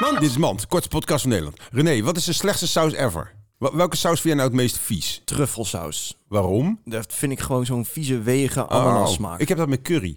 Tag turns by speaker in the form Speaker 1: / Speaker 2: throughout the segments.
Speaker 1: Mand, dit is Mand, kortste podcast van Nederland. René, wat is de slechtste saus ever? Wa- Welke saus vind jij nou het meest vies?
Speaker 2: truffelsaus.
Speaker 1: Waarom?
Speaker 2: Dat vind ik gewoon zo'n vieze wege
Speaker 1: Oh,
Speaker 2: ananas smaak.
Speaker 1: Ik heb dat met curry.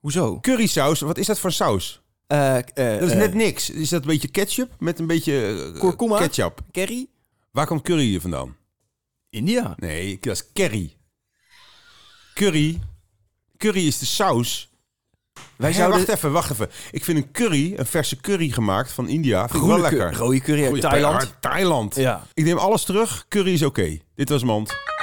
Speaker 2: Hoezo?
Speaker 1: Currysaus, wat is dat voor saus?
Speaker 2: Eh
Speaker 1: Dat is net niks. Is dat een beetje ketchup met een beetje eh,
Speaker 2: Kurkuma?
Speaker 1: ketchup?
Speaker 2: Kerry?
Speaker 1: Waar komt curry hier vandaan?
Speaker 2: India.
Speaker 1: Nee, dat is curry. Curry. Curry is de saus.
Speaker 2: Wij
Speaker 1: Ja,
Speaker 2: zouden
Speaker 1: wacht even, wacht even. Ik vind een curry, een verse curry gemaakt van India, vind ik wel
Speaker 2: groene
Speaker 1: lekker.
Speaker 2: curry- rode curry uit
Speaker 1: Goeie-
Speaker 2: Thailand.
Speaker 1: Thailand.
Speaker 2: Ja.
Speaker 1: Ik neem alles terug. Curry is oké. Dit was Mand.